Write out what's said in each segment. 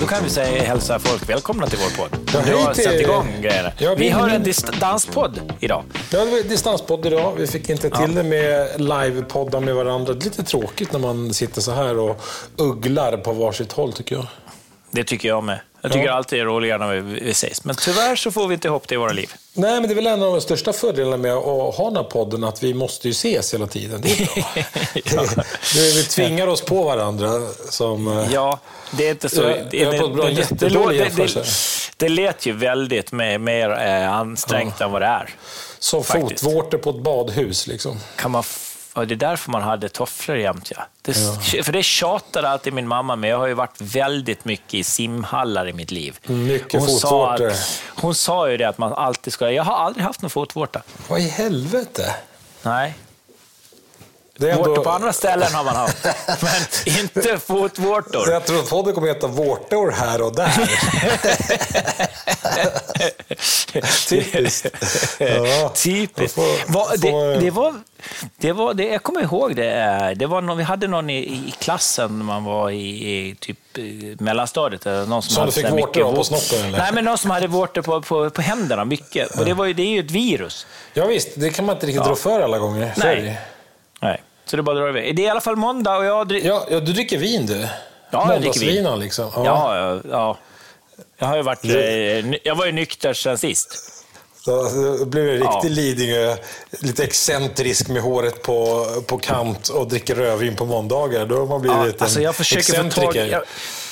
Då kan vi säga hälsa folk välkomna till vår podd. Ja, du har hej till satt er. igång grejerna. Ja, vi vi- har en dist- danspodd idag. Det var distanspodd idag. Vi fick inte till det med livepoddar med varandra. Det är lite tråkigt när man sitter så här och ugglar på varsitt håll tycker jag. Det tycker jag med. Jag tycker Ja. alltid det är roligare när vi, vi ses. Men tyvärr så får vi inte ihop det i våra liv. Nej, men det är väl en av de största fördelarna med att ha den här podden, att vi måste ju ses hela tiden. Det är bra. Det- Vi tvingar oss på varandra. Som, eh, Ja, det är inte så... Ja, det- jag har fått bra- det- det- jättedålig det- det- jämförelse. Det lät ju väldigt mer, mer eh, ansträngt än vad det är. som faktiskt. fotvårtor på ett badhus. Liksom. Kan man f- ja, det är därför man hade tofflor jämt. Ja. Det, För det tjatade alltid min mamma med. Jag har ju varit väldigt mycket i simhallar i mitt liv. Mycket hon sa, fotvårtor. att, hon sa ju det att man alltid ska... Jag har aldrig haft någon fotvårta. Vad i helvete? Nej. Det är Vårtor på andra ställen har man haft, men inte fotvårtor. Jag tror att podden kommer heta Vårtor här och där. Typiskt. Ja. Typiskt. Får- Va, det, får- det var, det var, det, jag kommer ihåg det. eh, det var någon, vi hade någon i, i klassen när man var i, i typ eh, mellanstadiet. eller Någon som Som hade du fick så här vårtor mycket av på vå- snoppen, eller? Nej, men någon som hade vårtor på, på, på händerna mycket. Och det, var ju, det är ju ett virus. Ja, visst, det kan man inte riktigt rå för alla gånger. Så är det ju. Nej. Nej. Så det bara drar iväg. Det är i alla fall måndag och jag... dricker. Ja, ja, du dricker vin du. jag dricker Måndagsvinan, liksom. Ja. Ja, ja, ja. Jag har ju varit... Eh, ny- jag var ju nykter sen sist. Så det blir en riktig Ja. Lidingö, lite excentrisk med håret på, på kant och dricker rödvin på måndagar. Då har man blivit Ja, en alltså jag, försöker få tag, excentriker. jag,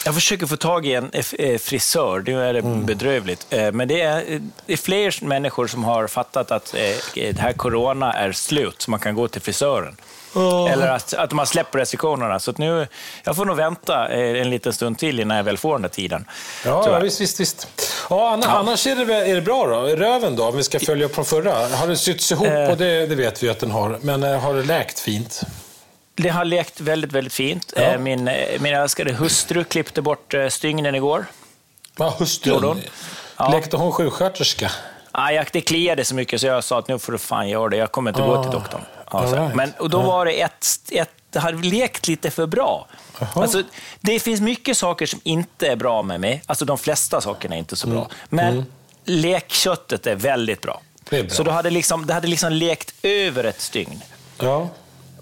jag försöker få tag i en eh, eh, frisör, nu är det Mm. bedrövligt. Eh, Men det är, eh, det är fler människor som har fattat att eh, det här corona är slut, så man kan gå till frisören. Ja. Eller att, att de har släppt restriktionerna. Så att nu, jag får nog vänta eh, en liten stund till innan jag väl får den där tiden. Ja, tyvärr. ja, visst, visst, visst. Ja, anna- Annars är det, väl- är det bra då? Röven då, om vi ska följa upp från förra. Har den sytts ihop? Eh. Och det, det vet vi ju att den har. Men eh, har det läkt fint? Det har lekt väldigt, väldigt fint. Ja. Eh, Min, eh, min älskade hustru klippte bort eh, stygnen igår. Ja, Gjorde hustrun. hon? Ja. Lekte hon sjuksköterska? Ah, jag, det kliade så mycket så jag sa att nu får du fan göra det, jag kommer inte gå till Ah, doktorn. Ja, så. all right. Men, och då var det ett, ett, det hade lekt lite för bra. Jaha. Alltså, det finns mycket saker som inte är bra med mig, alltså de flesta sakerna är inte så Mm. bra. Men lekköttet är väldigt bra. Det är bra. Så då hade liksom, det hade liksom lekt över ett stygn. Ja.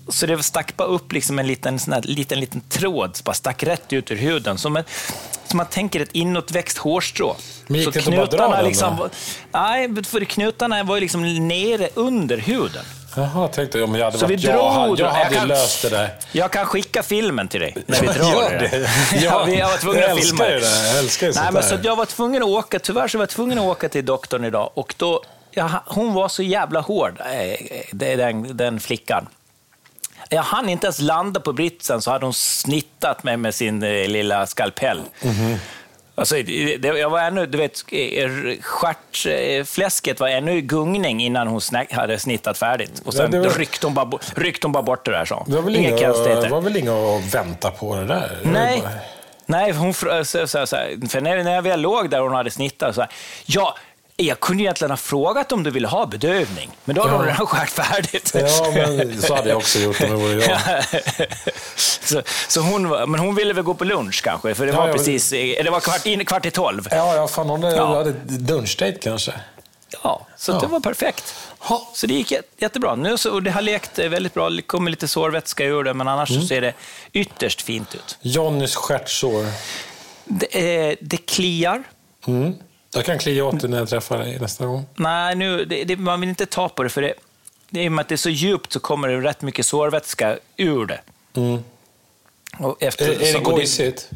Så det stack bara upp liksom en liten, sån här, liten, liten tråd, som bara stack rätt ut ur huden. Som, en, som man tänker ett inåtväxt hårstrå. Men gick så det inte bara att dra den liksom, då? var- Nej, för knutarna var ju liksom nere under huden. Jaha, tänkte jag. Men jag hade Så vi varit, jag, drog hade- då. jag Jag hade kan- löst det där. Jag kan skicka filmen till dig när vi Ja, drar gör i den. det. Ja, Ja, vi, jag var tvungen jag att älskar filma ju det. Jag älskar ju Nej, sånt men där. så att jag var tvungen att åka, tyvärr så var jag tvungen att åka till doktorn idag och då, jag, hon var så jävla hård, eh, det- den, den flickan. Jag hann inte ens landa på britsen så hade hon snittat mig med sin eh, lilla skalpell. Mhm. Alltså, det, det- jag var ännu, du vet, eh, stjärtfläsket var ännu i gungning innan hon snack, hade snittat färdigt. Och sen Ja, det var- ryckte, hon bara, bo- ryckte hon bara bort det där, sa hon. Det var väl Inga inga, konstigheter. var väl inga att vänta på det där? Det var Nej. bara- Nej, hon frö- så, så, så, för när, när jag väl låg där och hon hade snittat, så här, ja, jag kunde egentligen ha frågat om du ville ha bedövning, men då hade hon redan skärt färdigt. Ja, men så hade jag också gjort om det vore jag. så, så hon, var- men hon ville väl gå på lunch kanske, för det Ja, var ja, men- precis, eh, det var kvart, in, kvart i tolv. Ja, ja, fan, hon Ja. hade ett lunchdate kanske. Ja, så det var perfekt. Ha. Så det gick jä- jättebra. Nu så, och det har lekt eh, väldigt bra, det kommer lite sårvätska ur det, men annars Mm. så ser det ytterst fint ut. Johnnys stjärtsår. Det, eh, det kliar. Mm. Jag kan klia åt dig när jag träffar dig nästa gång. Nej, nu, det, det, man vill inte ta på det, för det, det, i och med att det är så djupt så kommer det rätt mycket sårvätska ur det. Och efter, Mm. Är, är det så- och gojsigt?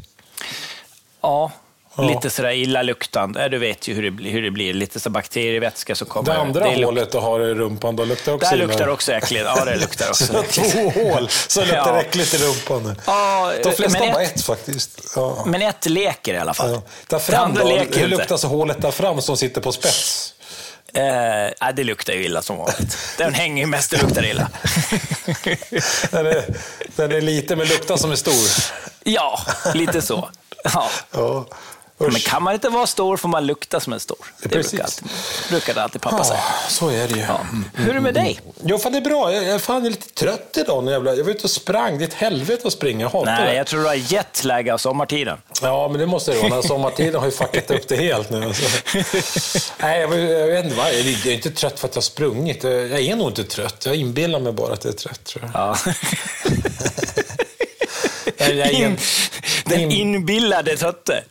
Ja, Ja. lite sådär illaluktande. Ja, Du vet ju hur det, blir- hur det blir, lite så bakterievätska som kommer. Det andra luk- hålet du har i rumpan, då luktar också Där illa. luktar det också äckligt. Ja, det luktar Så också jag har äckligt. två hål så det luktar Ja. äckligt i rumpan. Ja, De flesta men har bara ett- ett faktiskt. Ja. Men ett leker i alla fall. Ja. Där fram det då, andra leker hur inte. luktar så hålet där fram som sitter på spets? Eh, ja, det luktar ju illa som vanligt. Den hänger ju mest och luktar illa. Den är, den är liten men luktar som är stor. ja, lite så. Ja. Ja. Men Usch. kan man inte vara stor får man lukta som en stor. Det Precis. Ah. brukar, alltid, brukade alltid pappa Ja, säga. så är det ju. Ja. Hur är det med dig? Jo, fan det är bra. Jag, jag fan är lite trött idag. när Jag blev- jag var ute och sprang. Det är ett helvete att springa. Jag hatar det. Nej, jag tror du har jetlag av sommartiden. Ja, men det måste det vara. Den här sommartiden har ju fuckat upp det helt nu. Alltså. Nej, jag, var- jag vet inte vad. Jag är inte trött för att jag har sprungit. Jag jag är nog inte trött. Jag inbillar mig bara att jag är trött, tror jag. Ja. Jag är In, in, den in- inbillade trötte.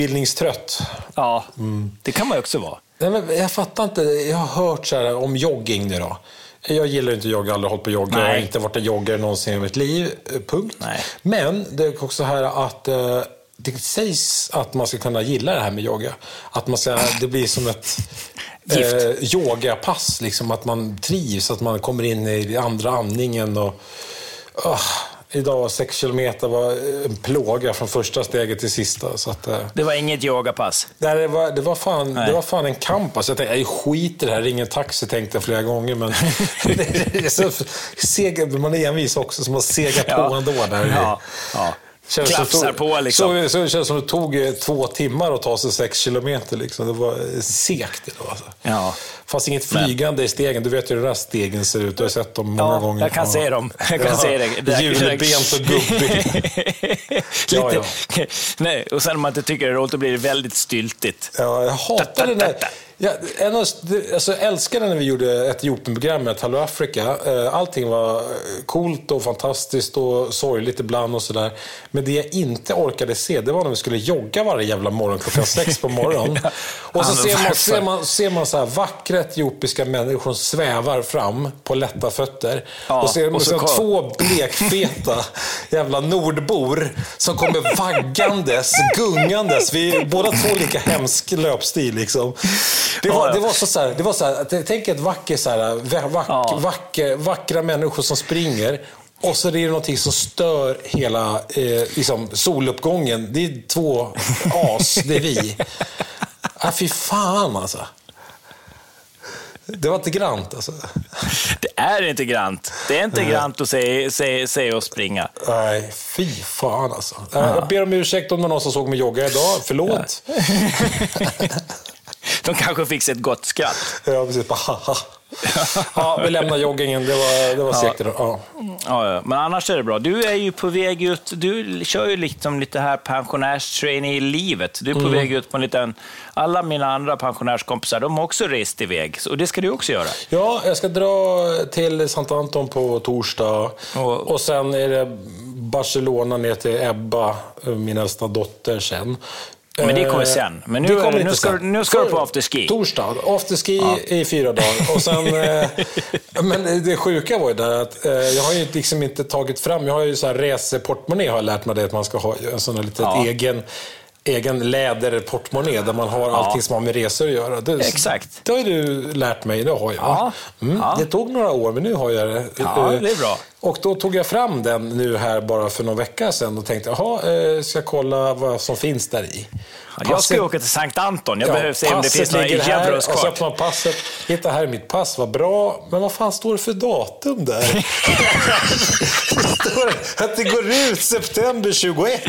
inbillningstrött. Ja, Mm. det kan man ju också vara. Nej, men jag fattar inte. Jag har hört så här om jogging nu då. Jag gillar inte att jogga, aldrig hållit på att jogga. Nej. Jag har inte varit en joggare någonsin i mitt liv. eh, Punkt. Nej. Men det är också här att eh, det sägs att man ska kunna gilla det här med yoga. Att man ska, det blir som ett Gift. eh, yogapass. Liksom, att man trivs, att man kommer in i den andra andningen. Och, ah, idag var sex kilometer var en plåga från första steget till sista. Så att, eh, Det var inget yogapass. Nej, det, var, det, var fan, Nej. det var fan en kamp. Alltså, jag tänkte, jag skiter i det här, ring en taxi, tänkte jag flera gånger. Men det är så, sega, man är envis också, så man segar på Ja. ändå. Där. Ja, ja. Känns som Klafsar tog- på, liksom. Så, så det känns som det tog eh, två timmar att ta sig sex kilometer. Liksom. Det var eh, segt. idag, Alltså. Ja. fanns inget flygande i stegen. Du vet ju hur de där stegen ser ut. Du har sett dem många Ja, gånger. jag kan se dem. Jag kan Ja. se det. det. Julbent och gubbigt. Lite. Ja, Nej, och sen om man inte tycker det är roligt, då blir det väldigt styltigt. Ja, jag hatar den Ta, ta, ta, ta. där. Ja, en av, alltså, jag älskade när vi gjorde Etiopien-programmet, Hello Africa. Eh, Allting var eh, coolt och fantastiskt och sorgligt ibland och sådär. Men det jag inte orkade se, det var när vi skulle jogga varje jävla morgon klockan sex på morgonen. Och så Ja, men alltså. ser man, varför? ser man, ser man så här vackra etiopiska människor som svävar fram på lätta fötter. Ja, och ser man och så sen kom- två blekfeta jävla nordbor som kommer vaggandes, gungandes. Vi är båda två lika hemsk löpstil. Liksom. Det, Ja, var, ja. det var så, så, här, det var så här, att- tänk ett vacker, så här, va- vack, Ja. vacker, vackra människor som springer. Och så är det någonting som stör hela eh, liksom, soluppgången. Det är två as, det är vi. Ah, fy fan alltså. Det var inte grant alltså. Det är inte grant. Det är inte grant att se, se, se och springa. Nej, fy fan alltså. Äh, Jag ber om ursäkt om det var någon som såg mig jogga idag. Förlåt. Ja, De kanske fick sig ett gott skratt. precis. Bara, haha. ja, vi lämnar joggingen. Det var, det var segt idag. Ja. Ja, ja. Men annars är det bra. Du är ju på väg ut. Du kör ju liksom lite här pensionärstrainee-livet. Du är på Mm. väg ut på en liten... Alla mina andra pensionärskompisar, de har också rest iväg. Och det ska du också göra. ja, jag ska dra till Sant Anton på torsdag. Och- Och sen är det Barcelona ner till Ebba, min äldsta dotter, sen. Men det kommer Eh, sen. Men nu det är det- kommer nu inte ska- sen. nu ska du på För- afterski. Torsdag. Afterski i fyra dagar. Och sen, eh, men det sjuka var ju där att eh, jag har ju liksom inte tagit fram, jag har ju så här reseportmoné har jag lärt mig det att man ska ha en sån här liten Ja. egen egen läderportmoné där man har allting som har med resor att göra. Det, Exakt. Det har ju du lärt mig, det har jag. Ja. Mm. Ja. Det tog några år, men nu har jag det. Eh, Ja, det är bra. Och då tog jag fram den nu här bara för någon vecka sedan och tänkte, jaha, eh, ska jag kolla vad som finns där i. Ja, Jag ska ju Passet- åka till Sankt Anton. Jag ja, behöver se om det passet finns några ligger här, Alltså, euros Och så kvar. öppnar man passet. Hitta här är mitt pass, vad bra. Men vad fan står det för datum där? det står att det går ut september 21.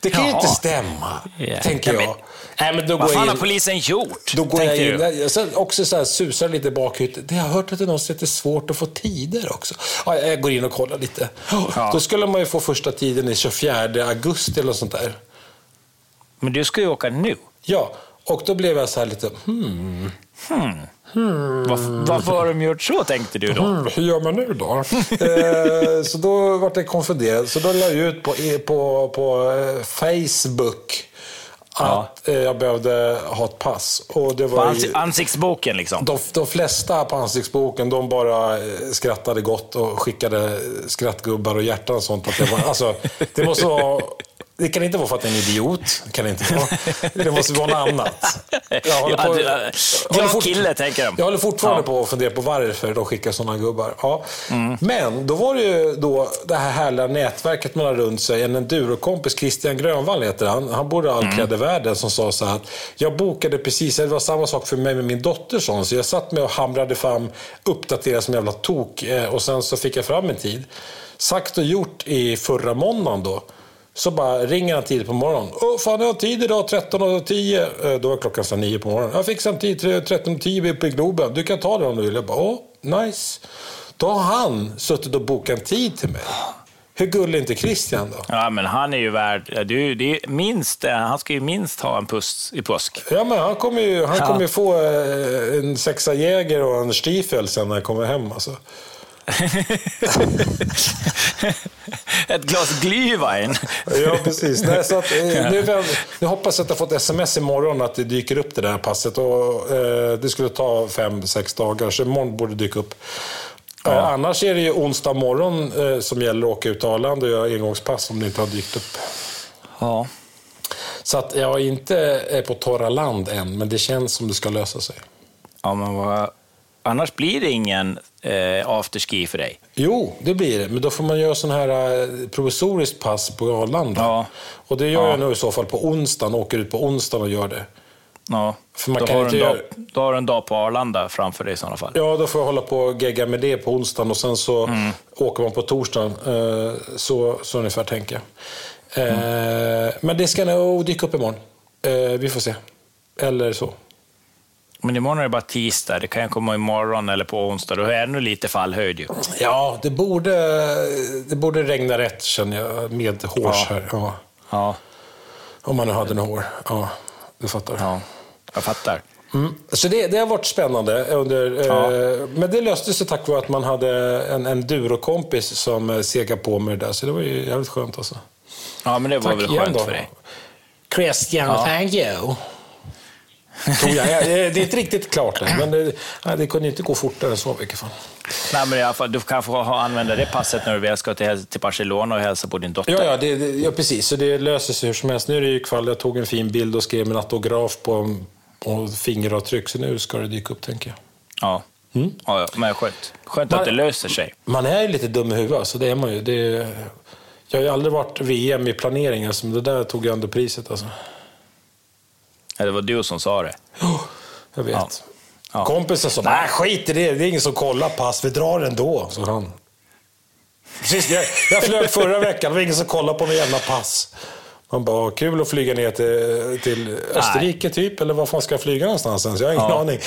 Det kan ju Jaha. inte stämma, Ja. tänker Ja, jag. men- Nej, men då Vad går jag fan har in. polisen gjort? Då går jag tänkte in. du. Jag sen också så här, susar lite i bakhuvudet. Det har jag hört att det någonstans är svårt att få tider också. Ja, jag går in och kollar lite. Ja. Då skulle man ju få första tiden i 24 augusti eller något sånt där. Men du ska ju åka nu. Ja, och då blev jag så här lite, hmm, Mm. Varför, varför har de gjort så, tänkte du då? "Hmm, hur gör man nu då? eh, så då vart jag konfunderad. Så då la jag ut på, e- på, på eh, Facebook att eh, jag behövde ha ett pass. Och det På var ju... ans- ansiktsboken liksom. De, de flesta på ansiktsboken, de bara eh, skrattade gott och skickade eh, skrattgubbar och hjärtan och sånt. Att det, var, alltså, det måste vara... Det kan inte vara för att jag är en idiot. Det kan det inte vara. Det måste vara något annat. Jag håller Ja, på- du- jag glad kille, tänker de. Jag håller fortfarande Ja. Mm. på att fundera på varför de skickar sådana gubbar. Ja. Men då var det ju då det här härliga nätverket man har runt sig. En endurokompis, Christian Grönvall heter han. Han borde ha all Mm. cred i världen som sa så här att jag bokade precis, det var samma sak för mig med min dotter son, så jag satt med och hamrade fram, uppdaterade som jävla tok eh, och sen så fick jag fram en tid. Sagt och gjort i förra måndagen då Så bara ringer han tidigt på morgonen. Åh, fan jag har tid idag 13.10. Eh, Då var klockan så nio på morgonen. Jag fixar en tid 13.10 uppe i Globen. Du kan ta det om du vill. Jag bara, åh, nice. Då har han suttit och bokat en tid till mig. Hur gullig är inte Christian då? Ja, men han är ju värd... Du, det är minst, eh, han ska ju minst ha en puss i påsk. Ja, men han kommer ju, han Ja. kommer ju få eh, en sexa Jäger och en Stiefel sen när han kommer hem. Alltså. Ett glas Glühwein. Ja, precis. Nej, så att, eh, nu, väl- nu hoppas jag att jag fått sms imorgon att det dyker upp det där passet. Och, eh, det skulle ta fem, sex dagar, så imorgon borde det dyka upp. Ja. annars är det ju onsdag morgon eh, som gäller att åka ut till Arlanda och göra engångspass om det inte har dykt upp. Ja. Så att jag är inte eh, på torra land än, men det känns som det ska lösa sig. ja, men vad... Annars blir det ingen eh, afterski för dig. Jo, det blir det. Men då får man göra sån här eh, provisoriskt pass på Arlanda. Ja. Och det gör jag nu i så fall på onsdagen. Åker ut på onsdagen och gör det. Ja. För man då, kan har inte du en dag, göra- då har du en dag på Arlanda framför dig i sådana fall. Ja, då får jag hålla på och gegga med det på onsdagen och sen så åker man på torsdagen. Eh, Så, så ungefär tänker jag. Eh, Men det ska nog dyka upp imorgon. Eh, Vi får se. Eller så. Men imorgon är det bara tisdag. Det kan ju komma imorgon eller på onsdag. Då är det ännu lite fallhöjd ju. Ja, det borde, det borde regna rätt känner jag med hårs här. Ja. Ja, Om man nu hade några hår. Ja, du fattar. ja. jag fattar. Mm. Så det, det har varit spännande. Under, eh, men det löste sig tack vare att man hade en, en durokompis som eh, segade på med det där. Så det var ju jävligt skönt alltså. Ja, men det var väl skönt för dig. Christian, thank you. Tror jag. Jag- Det är inte riktigt klart än, men det, nej, det kunde inte gå fortare än så i vilket fall. Nej, men i alla fall, du kanske har använda det passet när du väl ska till, häl- till Barcelona och hälsa på din dotter. Ja, ja, det, det, ja, precis. Så det löser sig hur som helst. Nu är det ju kväll. Jag tog en fin bild och skrev min autograf på, på fingeravtryck, så nu ska det dyka upp, tänker jag. Ja. Mm. Ja, ja, men skönt. Skönt Man- att det löser sig. Man är ju lite dum i huvudet, så det är man ju. Det, jag har ju aldrig varit VM i planering, alltså, men det där tog jag ändå priset. Alltså. Ja, Det var du som sa det. Oh. Jag vet. Ja. Ja. Kompisen sa, nej skit i det, det är ingen som kollar pass, vi drar ändå, sa han. Precis, jag, jag flög förra veckan, det var ingen som kollade på min jävla pass. Man bara, kul att flyga ner till, till Österrike typ, eller var fan ska jag flyga någonstans ens? Jag har ingen Ja. aning.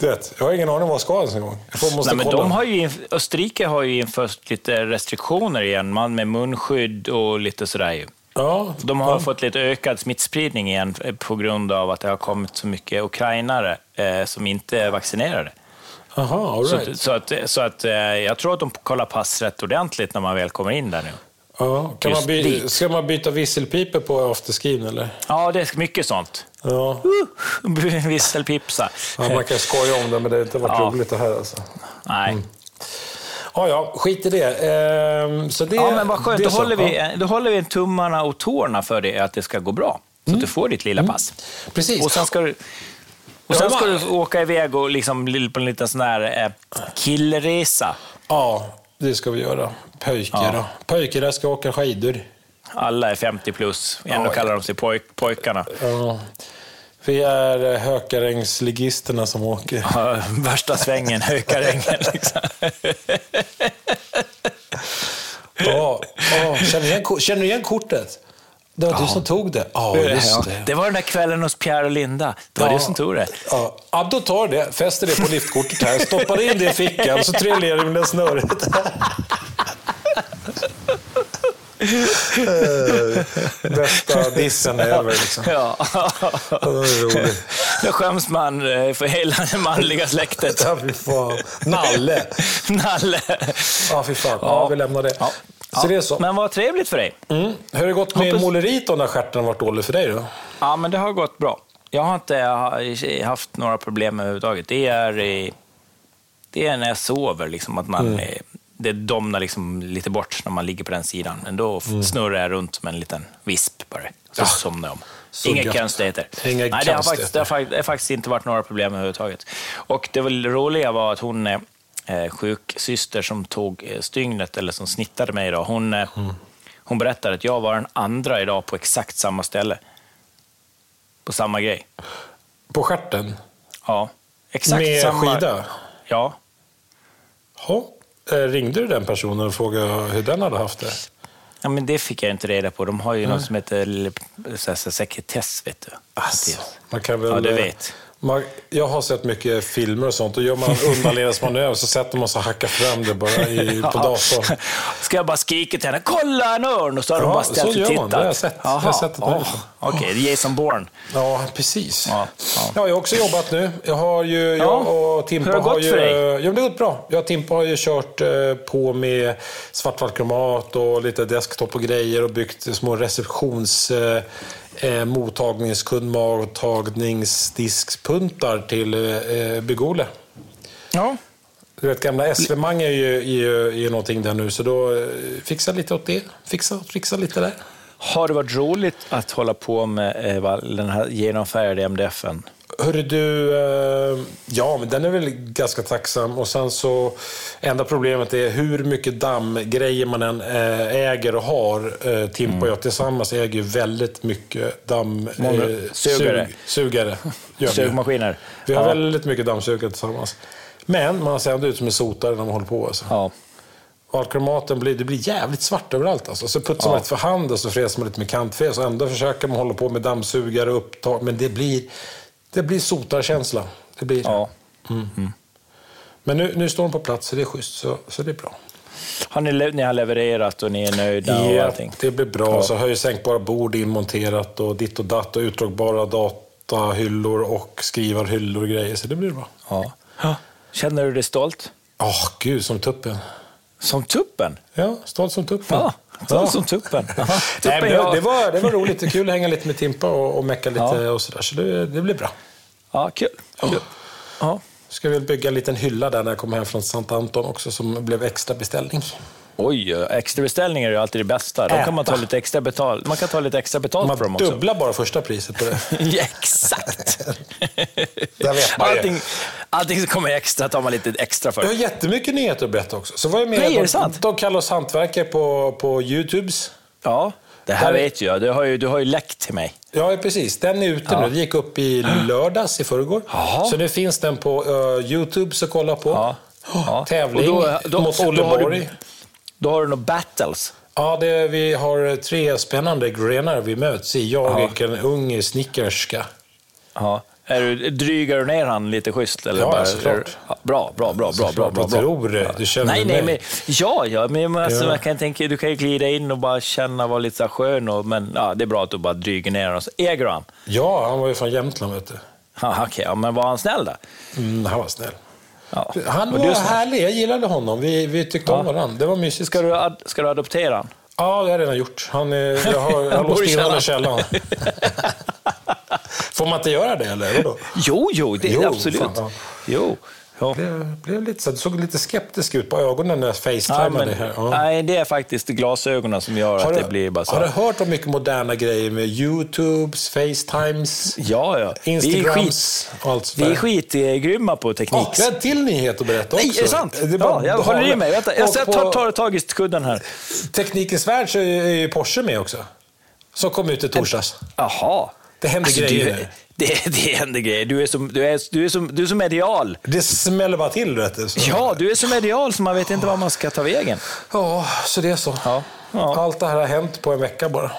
Du vet, jag har ingen aning om vad jag ska ens en gång. Jag får, måste Nej, men kolla. de har ju, inf- Österrike har ju infört lite restriktioner igen, man med munskydd och lite sådär. ju. Ja, De har fått lite ökad smittspridning igen eh, på grund av att det har kommit så mycket ukrainare eh, som inte är vaccinerade. aha, all Så, right. att, så, att, så att eh, jag tror att de kollar pass rätt ordentligt när man väl kommer in där nu. Ja, kan man Just by- dit. ska man byta visselpipor på afterskin eller? Ja, det är mycket sånt. Ja. Visselpipsa. ja, man kan skoja om det men det har inte varit Ja. roligt det här alltså. Nej. Ja, ja, skit i det. Ehm, så det Ja, men vad skönt. det är Då så. håller, vi, Ja, då håller vi tummarna och tårna för dig att det ska gå bra. Så Mm. att du får ditt lilla pass. Precis. Och sen ska du, och sen ska du åka iväg och liksom li- på en liten sån här eh, killresa. Ja, det ska vi göra. Pöjker då. Pöjker där ska åka skidor. Alla är 50 plus, ändå Ja. kallar de sig poj, pojkarna. Ja. Vi är eh, Hökarängsligisterna som åker. Ja, Värsta svängen, hökarängen. Liksom. Ja, ja. Känner, du igen, ko- känner du igen kortet? Det var du som tog det. Ja, just det. Det var den där kvällen hos Pierre och Linda. Det var Ja. det som tog det. Ja, ja, då tar det, fäster det på liftkortet här, stoppar in det i fickan så trillar det med det snöret. Eh, Bästa dissen ever liksom. Ja. Ja, det är roligt. Då skäms man eh, för hela det manliga släktet. Ja, fy fan. Nalle. Nalle. Ja, fy fan. Ja, vi lämnar det. Ja. Så det är så. Men vad trevligt för dig. Mm. Hur har det gått med Hoppas- måleriet då när stjärten har varit dålig för dig då? Ja, men det har gått bra. Jag har inte eh, haft några problem överhuvudtaget. Det är, eh, det är när jag sover, liksom, att Mm. man, eh, det domnar liksom lite bort när man ligger på den sidan. Men då Mm. f- snurrar jag runt som en liten visp bara, så somnar jag om. så Inga gött. konstigheter. Inga Nej, det har, faktiskt, det, konstigheter. har, fakt- det har faktiskt inte varit några problem överhuvudtaget. Och det väl roliga var att hon, eh, eh, sjuksyster som tog eh, stygnet, eller som snittade mig idag, hon, eh, Mm. hon berättade att jag var den andra idag på exakt samma ställe på samma grej. På stjärten? Ja, exakt med samma. skida? Ja. Ja. Eh, Ringde du den personen och frågade hur den hade haft det? Ja, men det fick jag inte reda på. De har ju Mm. något som heter l- så här, så här, sekretess, vet du. Alltså, man kan väl, Ja, du vet. Man, jag har sett mycket filmer och sånt. Och gör man en undanledningsmanöver så sätter man sig och hackar fram det bara i, på datorn. Ska jag bara skrika till henne, kolla en örn! Och så har de Ja, bara ställt så och gör man. tittat. Det har jag sett. Jag har Jaha. sett det på Åh, hälften. Okej, det är Jason Bourne. Ja, precis. Ja, Ja, ja. Jag har ju också jobbat nu. Jag har ju, jag och Timpa hur har det gått ju, för dig? Jo, men det har gått bra. Jag och Timpa har ju kört eh, på med svartvallkromat och lite desktop och grejer och byggt små receptions... Eh, eh, mottagnings, kundmottagningsdiskspuntar till eh, Bygg-Ole. Ja. Du vet, gamla SV-mang är ju, är, ju, är ju någonting där nu, så då eh, fixa lite åt det. Fixa och trixa lite där. Har det varit roligt att hålla på med eh, va- den här genomfärgade MDF-en? Hörru du, eh, ja men den är väl ganska tacksam. Och sen så, enda problemet är hur mycket dammgrejer man än eh, äger och har. Eh, Timpa och jag tillsammans äger ju väldigt mycket Mm. Många dammsugare. sugare. sugare. gör vi ju. Sugmaskiner? Vi har ja. väldigt mycket dammsugare tillsammans. Men man ser ändå ut som en sotare när man håller på. Alltså. Ja. Och alkromaten blir, det blir jävligt svart överallt. Alltså. Så putsar man lite för hand och så fräser man lite med kantfräs. Och ändå försöker man hålla på med dammsugare och upptag. Men det blir, det blir sotarkänsla. Det blir, ja. Men nu, nu står de på plats så det är schysst. Så, så det är bra. Har ni, le- ni har levererat och ni är nöjda och Ja, allting? det blir bra. Så höj och sänkbara bord inmonterat och ditt och datt och utdragbara datahyllor och skrivarhyllor och grejer. Så det blir bra. Ja. Känner du dig stolt? Åh, gud, som tuppen. Som tuppen? Ja, stolt som tuppen. Ja, Ja. som tuppen. tuppen Nej, men ja. det, det, var, det var roligt. Det var kul att hänga lite med Timpa och, och mecka lite Ja. och sådär. Så det, det blir bra. Ja, kul. kul. Ja. Ska vi bygga en liten hylla där när jag kommer hem från Sant Anton också som blev extra beställning. Oj, extra beställningar är ju alltid det bästa. Då Äta. kan man ta lite extra betalt. Man kan ta lite extra betalt för Man dem också. dubblar bara första priset på det. Ja, exakt! Där vet man ju. allting, allting som kommer extra tar man lite extra för. Jag har jättemycket nyheter att berätta också. Så var jag med, Nej, är det de, sant? de kallar oss hantverkare på, på Youtubes. Ja, det här Där- vet ju jag. Du har ju, du har ju läckt till mig. Ja, precis. Den är ute nu. Det gick upp i lördags i förrgår. Jaha. Så nu finns den på eh, Youtube att kolla på. Ja. Ja. Tävling Och då- då- mot då Olle har du- Borg. Då har du några battles. Ja, det, vi har tre spännande grenar vi möts i. Jag och en ung snickerska. Ja. Är du, drygar du ner han lite schysst? Eller Ja, bara, såklart. Ja, Bra, bra, bra, bra, bra, Såklart, bra, vad bra. tror du? Du känner nej, nej, mig. men, ja, ja, men men alltså, Ja. Man kan tänka, du kan ju glida in och bara känna, vara lite så här skön. Och, men ja, det är bra att du bara dryger ner honom. Så Äger du han? Ja, han var ju från Jämtland, vet du. Ja, okej, ja, men var han snäll då? Mm, han var snäll. Ja. Han Och var du, ska, härlig. Jag gillade honom. Vi, vi tyckte om varandra. Det var mysigt. ska, du ad, ska du adoptera han? Ja, det har jag redan gjort. Han är, jag har, jag har bor i låst in honom i källaren. Får man inte göra det, eller? Vadå? Jo, jo, det, Jo, absolut. fan, ja. Jo. Ja. Det blev lite så. Du såg lite skeptisk ut på ögonen när jag Nej, facetimade men, dig här. Ja. nej, det är faktiskt glasögonen som gör att det blir bara så. har du här. hört om mycket moderna grejer med Youtubes, Facetimes, Ja, ja. Vi är, skit, Instagrams och allt sånt vi är där? skitgrymma på teknik. Åh, jag har en till nyhet att berätta också. Nej, är det sant? är bara ja, jag håller i mig. Vänta, jag Och ska på ta, ta tag i kudden här. Teknikens värld så är ju- är ju Porsche med också. Som kom ut i torsdags. Jaha. Alltså, Det händer grejer du, nu. det, det händer grejer. Du är som, du är, du är som, du är som medial. Det smäller bara till, rätt du. Så- Ja, du är som medial så man vet inte var man ska ta vägen. Ja, så det är så. Ja. Ja. Allt det här har hänt på en vecka bara.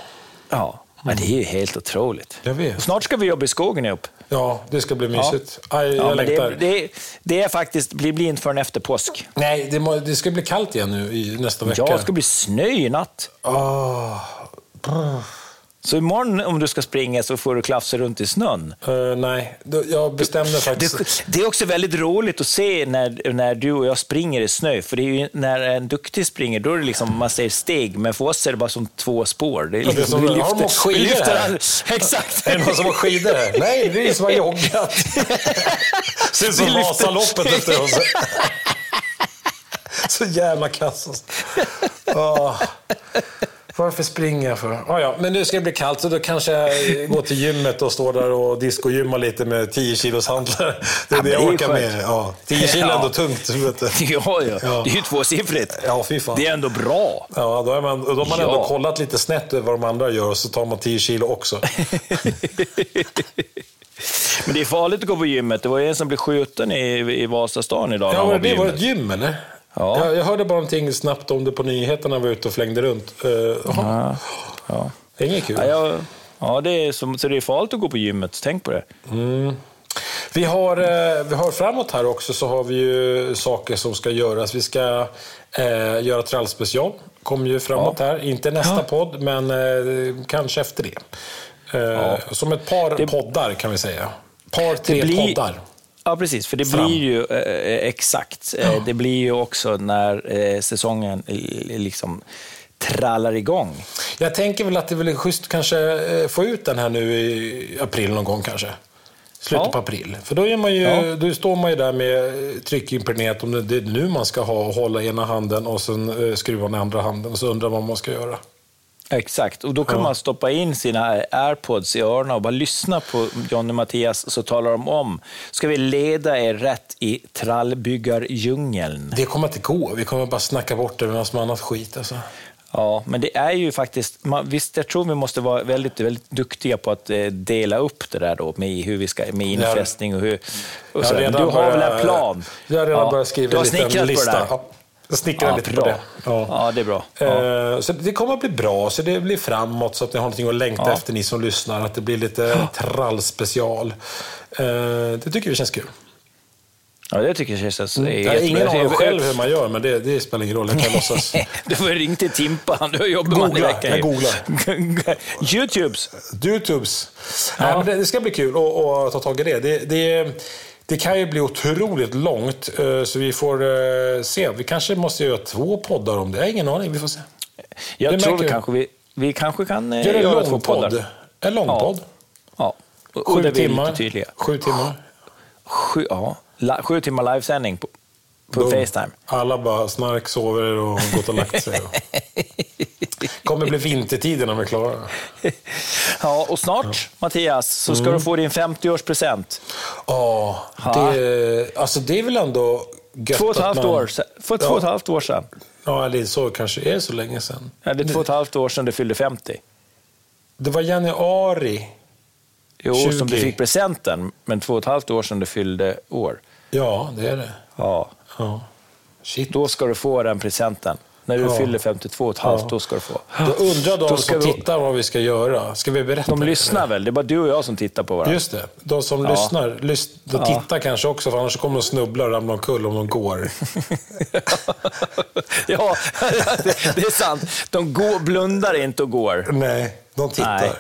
Ja, men det är ju helt otroligt. Jag vet. Och Snart ska vi jobba i skogen ihop. Ja, det ska bli mysigt. Aj, jag Ja, men längtar. det, det, det är faktiskt, blir blir inte förrän efter påsk. Nej, det, må, det ska bli kallt igen nu i nästa vecka. Ja, det ska bli snö i natt. Ah. Så imorgon om du ska springa så får du klafsa runt i snön. Eh, nej, Då- jag bestämde faktiskt. Det, det är också väldigt roligt att se när, när du och jag springer i snö, för det är ju, när en duktig springer, då är det liksom, man säger steg, men för oss är det bara som två spår. Det är liksom- det är som- vi har de lyfter- åkt skidor vi lyfter här? all- Exakt! Är det någon som har skidor här? Nej, det är som har joggat. Ser ut som Vi lyfter- Vasaloppet efter oss. Så jävla kass. alltså. Ah. Varför springer jag för? Ah, ja. Men nu ska det bli kallt så då kanske jag går till gymmet och står där och discogymmar lite med 10 kilos hantlar. Det är Ja, det men jag det är orkar skönt. med. Ja. 10 kilo är ändå Ja. tungt. Vet du. Ja, ja, Ja. det är ju tvåsiffrigt. Ja, fy fan. Det är ändå bra. Ja, då, är man, då har man Ja. ändå kollat lite snett över vad de andra gör och så tar man 10 kilo också. Men det är farligt att gå på gymmet. Det var ju en som blev skjuten i, i Vasastan idag. när Ja, han var var på det, det var gymmet. ett gym eller? Ja. Jag, jag hörde bara någonting snabbt om det på nyheterna när jag var ute och flängde runt. Eh, jaha, Ja. Ja. det är inget kul. Ja, jag, ja, det är som, så det är farligt att gå på gymmet, tänk på det. Vi har, eh, vi har framåt här också så har vi ju saker som ska göras. Vi ska eh, göra trallspecial. Kommer ju framåt här. Inte nästa podd, men eh, kanske efter det. Eh, Som ett par poddar kan vi säga. Par, tre blir- poddar. Ja, precis. För det Fram. blir ju eh, exakt. Eh, Det blir ju också när eh, säsongen eh, liksom trallar igång. Jag tänker väl att det är väl schysst kanske eh, få ut den här nu i april någon gång kanske. Slutet Ja. på april. För då, är man ju, Ja. då står man ju där med eh, tryckimpregnerat om det, det är nu man ska ha och hålla ena handen och sen eh, skruvan i andra handen och så undrar man vad man ska göra. Exakt, och då kan man stoppa in sina eh, airpods i öronen och bara lyssna på Johnny och Mattias så talar de om. Ska vi leda er rätt i trallbyggarjungeln? Det kommer inte gå. Vi kommer bara snacka bort det med massor med annat skit. Alltså. Ja, men det är ju faktiskt... Man, visst, jag tror vi måste vara väldigt, väldigt duktiga på att eh, dela upp det där då med hur vi ska, med infästning och hur... Och Jag sådär. Men du har väl en plan? Jag har redan Ja, börjat skriva du har en snickrat liten på det lista. där. Ja, jag snickrar Ja, lite bra. på det. Ja. Ja, det är bra. Ja. Eh, Så det kommer att bli bra, så det blir framåt, så att ni har någonting att längta efter, ni som lyssnar. Att det blir lite trallspecial. Eh, Det tycker vi känns kul. Ja, det tycker jag känns... Mm. Jag har ingen aning själv hur man gör, men det, det spelar ingen roll. Jag kan låtsas. Du får ringa till Timpa, han har jobbat man i Googla, veckan. jag ju. googlar. Youtubes. Youtubes. Nej, men det, det ska bli kul att- att ta tag i det. Det, det. det kan ju bli otroligt långt, eh, så vi får eh, se. Vi kanske måste göra två poddar om det. Jag har ingen aning, vi får se. Jag Det tror märker vi jag. kanske, vi, vi kanske kan eh, Gör en göra två lång podd. poddar. En lång Ja. podd. Ja. Och, och där Sju vi är lite timmar. tydliga. Sju timmar. Sju, ja. La, sju timmar livesändning på, på Boom. Facetime. Alla bara snark, sover och gått och lagt sig. kommer bli vintertiden när vi är klara. Ja, och snart, Mattias, så ska Mm. du få din 50-årspresent. Ja, det, alltså det är väl ändå gött Två och ett att halvt man- år, se- för två och ett halvt år sedan. Ja, eller så kanske är det så länge sedan. Ja, det är två och ett halvt år sedan du fyllde 50. Det var januari. Jo, 20. som du fick presenten, men två och ett halvt år sedan du fyllde år. Ja, det är det. Ja, Ja. Shit. då ska du få den presenten. När du Ja. fyller 52 och ett halvt, då ska du få. Då undrar de Då ska som vi- tittar vad vi ska göra. Ska vi berätta? De lyssnar väl? Det är bara du och jag som tittar på varandra. Just det. De som lyssnar, lys- de tittar kanske också, för annars kommer de snubbla och ramla omkull om de går. ja, det är sant. De går, blundar inte och går. Nej, de tittar. Nej.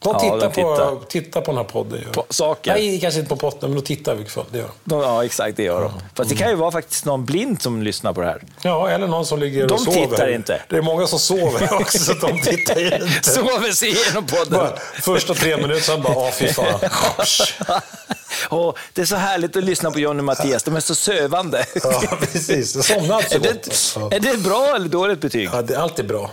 De Ja, tittar, de tittar. På, tittar på den här podden. Ju. På saker. Nej, kanske inte på podden, men de tittar i vilket fall. Det gör. de. De, ja, exakt, det gör de. Fast det kan ju vara faktiskt någon blind som lyssnar på det här. Ja, eller någon som ligger De och sover. tittar inte. Det är många som sover också, så de tittar ju inte. Sover sig igenom podden. Bara, första tre minuter, sen bara, ah fy fan. Åh, det är så härligt att lyssna på Johnny och Mattias. De är så sövande. Ja, precis. Jag somnade så Är det, gott. Ja. är det ett bra eller dåligt betyg? Ja, det är alltid bra.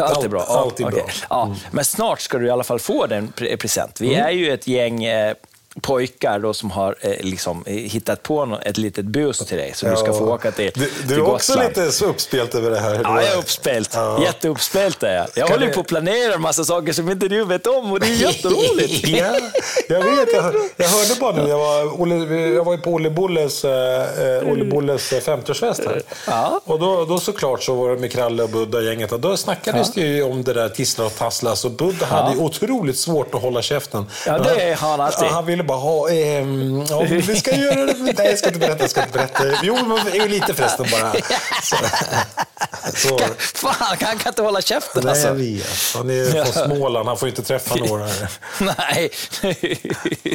Allt är bra. Ja, Allt är okej. bra. Mm. Ja, Men snart ska du i alla fall få den pre- present. Vi är ju ett gäng eh, pojkar då som har eh, liksom, eh, hittat på nå- ett litet bus till dig som du ska få åka till Du, du till är också Gotland. lite så uppspelt över det här. Ja, jag är uppspelt. Ja. Jätteuppspelt är jag. Jag Kan håller ju du- på att planera en massa saker som inte du vet om och det är jätteroligt. ja, jag vet. Jag, jag hörde bara nu. Jag var, Olle, jag var ju på Olle Bolles, eh, eh, Olle Bolles eh, 50-årsfest här. Ja. Och då, då såklart så var det med Kralle och Budda och gänget. Och då snackades det ju om det där tissla och tasslas. Och Budda hade ju otroligt svårt att hålla käften. Ja, det Men har han alltid. Ja, Han ville bara ha... ehm, ja, men vi ska göra det. Nej, jag ska inte berätta. Jag ska inte berätta. Jo, men jo, lite förresten bara. Så, så. Fan, han kan inte hålla käften Nej, alltså. jag vet. Han är från Småland. Han får ju inte träffa några. Nej.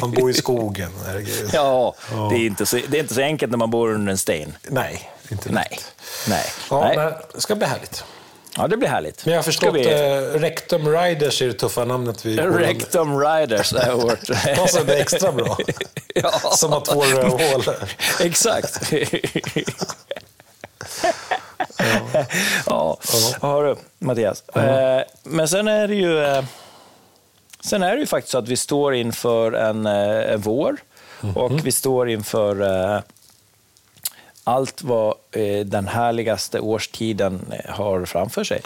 Han bor i skogen. Herregud. Ja, det är, inte så, det är inte så enkelt när man bor under en sten. Nej, inte Nej. Nej. Ja, Nej. nej, Det ska bli härligt. Ja, det blir härligt. Men jag har Ska förstått vi- eh, Rectum Riders är det tuffa namnet vi Rectum Riders är vårt... Passar det extra bra? Ja. Som har två rövhål. Exakt. ja, ja. hörru Mattias. Eh, men sen är det ju... Eh, sen är det ju faktiskt så att vi står inför en, eh, en vår och vi står inför eh, allt vad eh, den härligaste årstiden eh, har framför sig.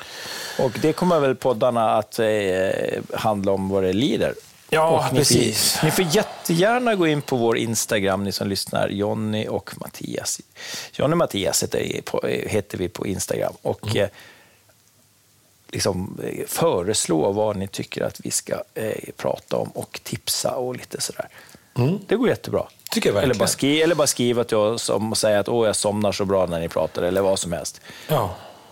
Och det kommer väl poddarna att eh, handla om vad det lider. Ja, Och ni precis. Ni får jättegärna gå in på vår Instagram, ni som lyssnar, Jonny och Mattias. Jonny och Mattias heter, på- eh, heter vi på Instagram. Och eh, liksom, eh, föreslå vad ni tycker att vi ska eh, prata om och tipsa och lite sådär. Det går jättebra. Mm. Tycker jag verkligen. eller, bara skriva, eller bara skriva till oss om- och säga att Åh, jag somnar så bra när ni pratar, eller vad som helst. Ja.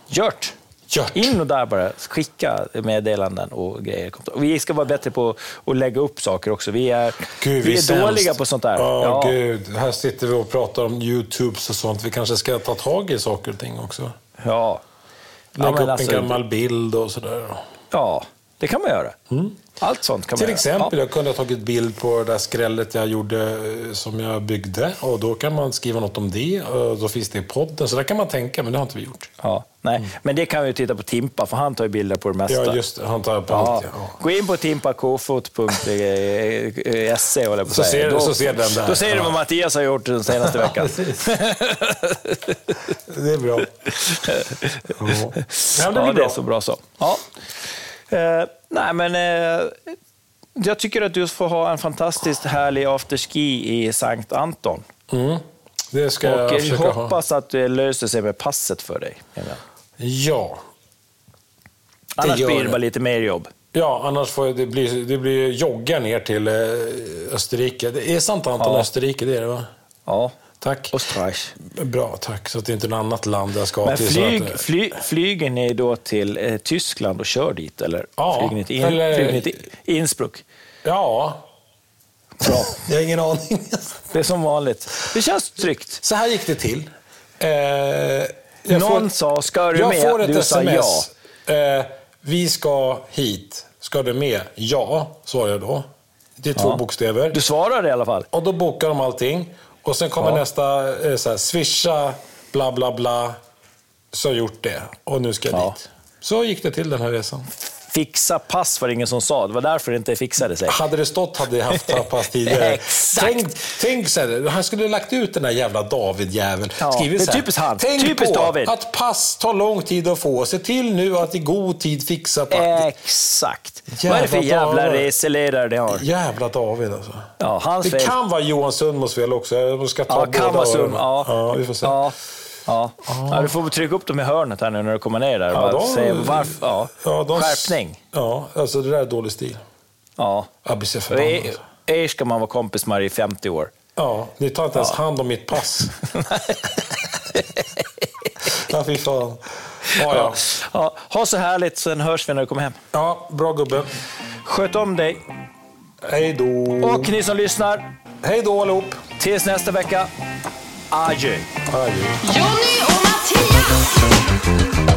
Gjort! Gjort. In och där bara, skicka meddelanden och grejer. Och Vi ska vara bättre på att lägga upp saker också. Vi är, Gud, vi är, sämst. dåliga på sånt där. Ja, gud. Här sitter vi och pratar om YouTubes och sånt. Vi kanske ska ta tag i saker och ting också. ja. Lägga Ja, men upp alltså, en gammal bild och sådär. ja, det kan man göra. Allt sånt kan man Mm. Till göra. exempel, Ja. jag kunde ha tagit bild på det där skrället jag gjorde eh, som jag byggde. Och då kan man skriva något om det. Och då finns det i podden. Så där kan man tänka, men det har inte vi gjort. Ja, nej. Men det kan vi ju titta på Timpa, för han tar ju bilder på det mesta. Mm. Ja, just det. Han tar på Ja. allt, ja. Gå in på e timpakofot.se, e håller jag på att Så säga. ser- Då- så ser den där. Då ser du vad Ja. Mattias har gjort den senaste veckan. Det är bra. Ja, ja det ja, blir det är bra. så bra så. Ja. Eh, nej, men eh, jag tycker att du får ha en fantastiskt härlig afterski i Sankt Anton. Det ska Och jag jag försöka ha. hoppas att det löser sig med passet för dig. Ja. Annars gör blir det det. bara lite mer jobb. Ja, annars får jag- det bli, det blir jogga ner till eh, Österrike. Det är sant Anton, Ja. Österrike det är det va? Ja, Tack. Österreich. Bra, tack. Så att det inte är något annat land jag ska Men till. så flyg, att, eh, fly, flyger ni då till eh, Tyskland och kör dit? Eller Ja, flyger ni till, in, eller- flyger ni till Innsbruck? ja, Bra. jag har ingen aning. Det är som vanligt. Det känns tryggt. Så här gick det till. Eh, jag Någon sa, ska du jag med? får ett du sa sms. ja. Eh, vi ska hit. Ska du med? Ja, svarade jag då. Det är två bokstäver. Du svarade i alla fall. Och då bokar de allting. Och sen kommer Ja. nästa, eh, så här, swisha, bla bla bla. Så har jag gjort det. Och nu ska jag Ja. dit. Så gick det till den här resan. Fixa pass var det ingen som sa. Det var därför det inte fixade sig. Hade det stått hade jag haft pass tidigare. Exakt. Tänk, tänk så här, han skulle ha lagt ut den där jävla David-jäveln. Ja, Skrivit det är så här, typiskt han. Tänk Typiskt på David." att pass tar lång tid att få. Se till nu att i god tid fixa Eh. packet. Exakt. Jävla Vad är det för jävla dagar. reseledare det har? Jävla David alltså. Ja, hans Det fel. kan vara Johan Sundmos fel också. Jag ska ta Ja, båda kan vara sum. öronen. Ja. ja, vi får se. Ja. Ja. Ja, du får trycka upp dem i hörnet här nu när du kommer ner där. Ja, Ja, de- säga varför, ja. Ja, de- Skärpning. Ja, alltså det där är dålig stil. Ja. Jag blir så Och förbannad. Er, er ska man vara kompis med i 50 år. alltså. Ja, ni tar inte ens hand om mitt pass. ja, fy fan. Ja, ja. Ja, ha så härligt, sen hörs vi när du kommer hem. ja, bra gubbe. Sköt om dig. Hej då. Och ni som lyssnar, Hej då allihop. tills nästa vecka. Adjö. Adjö. Johnny och Mattias!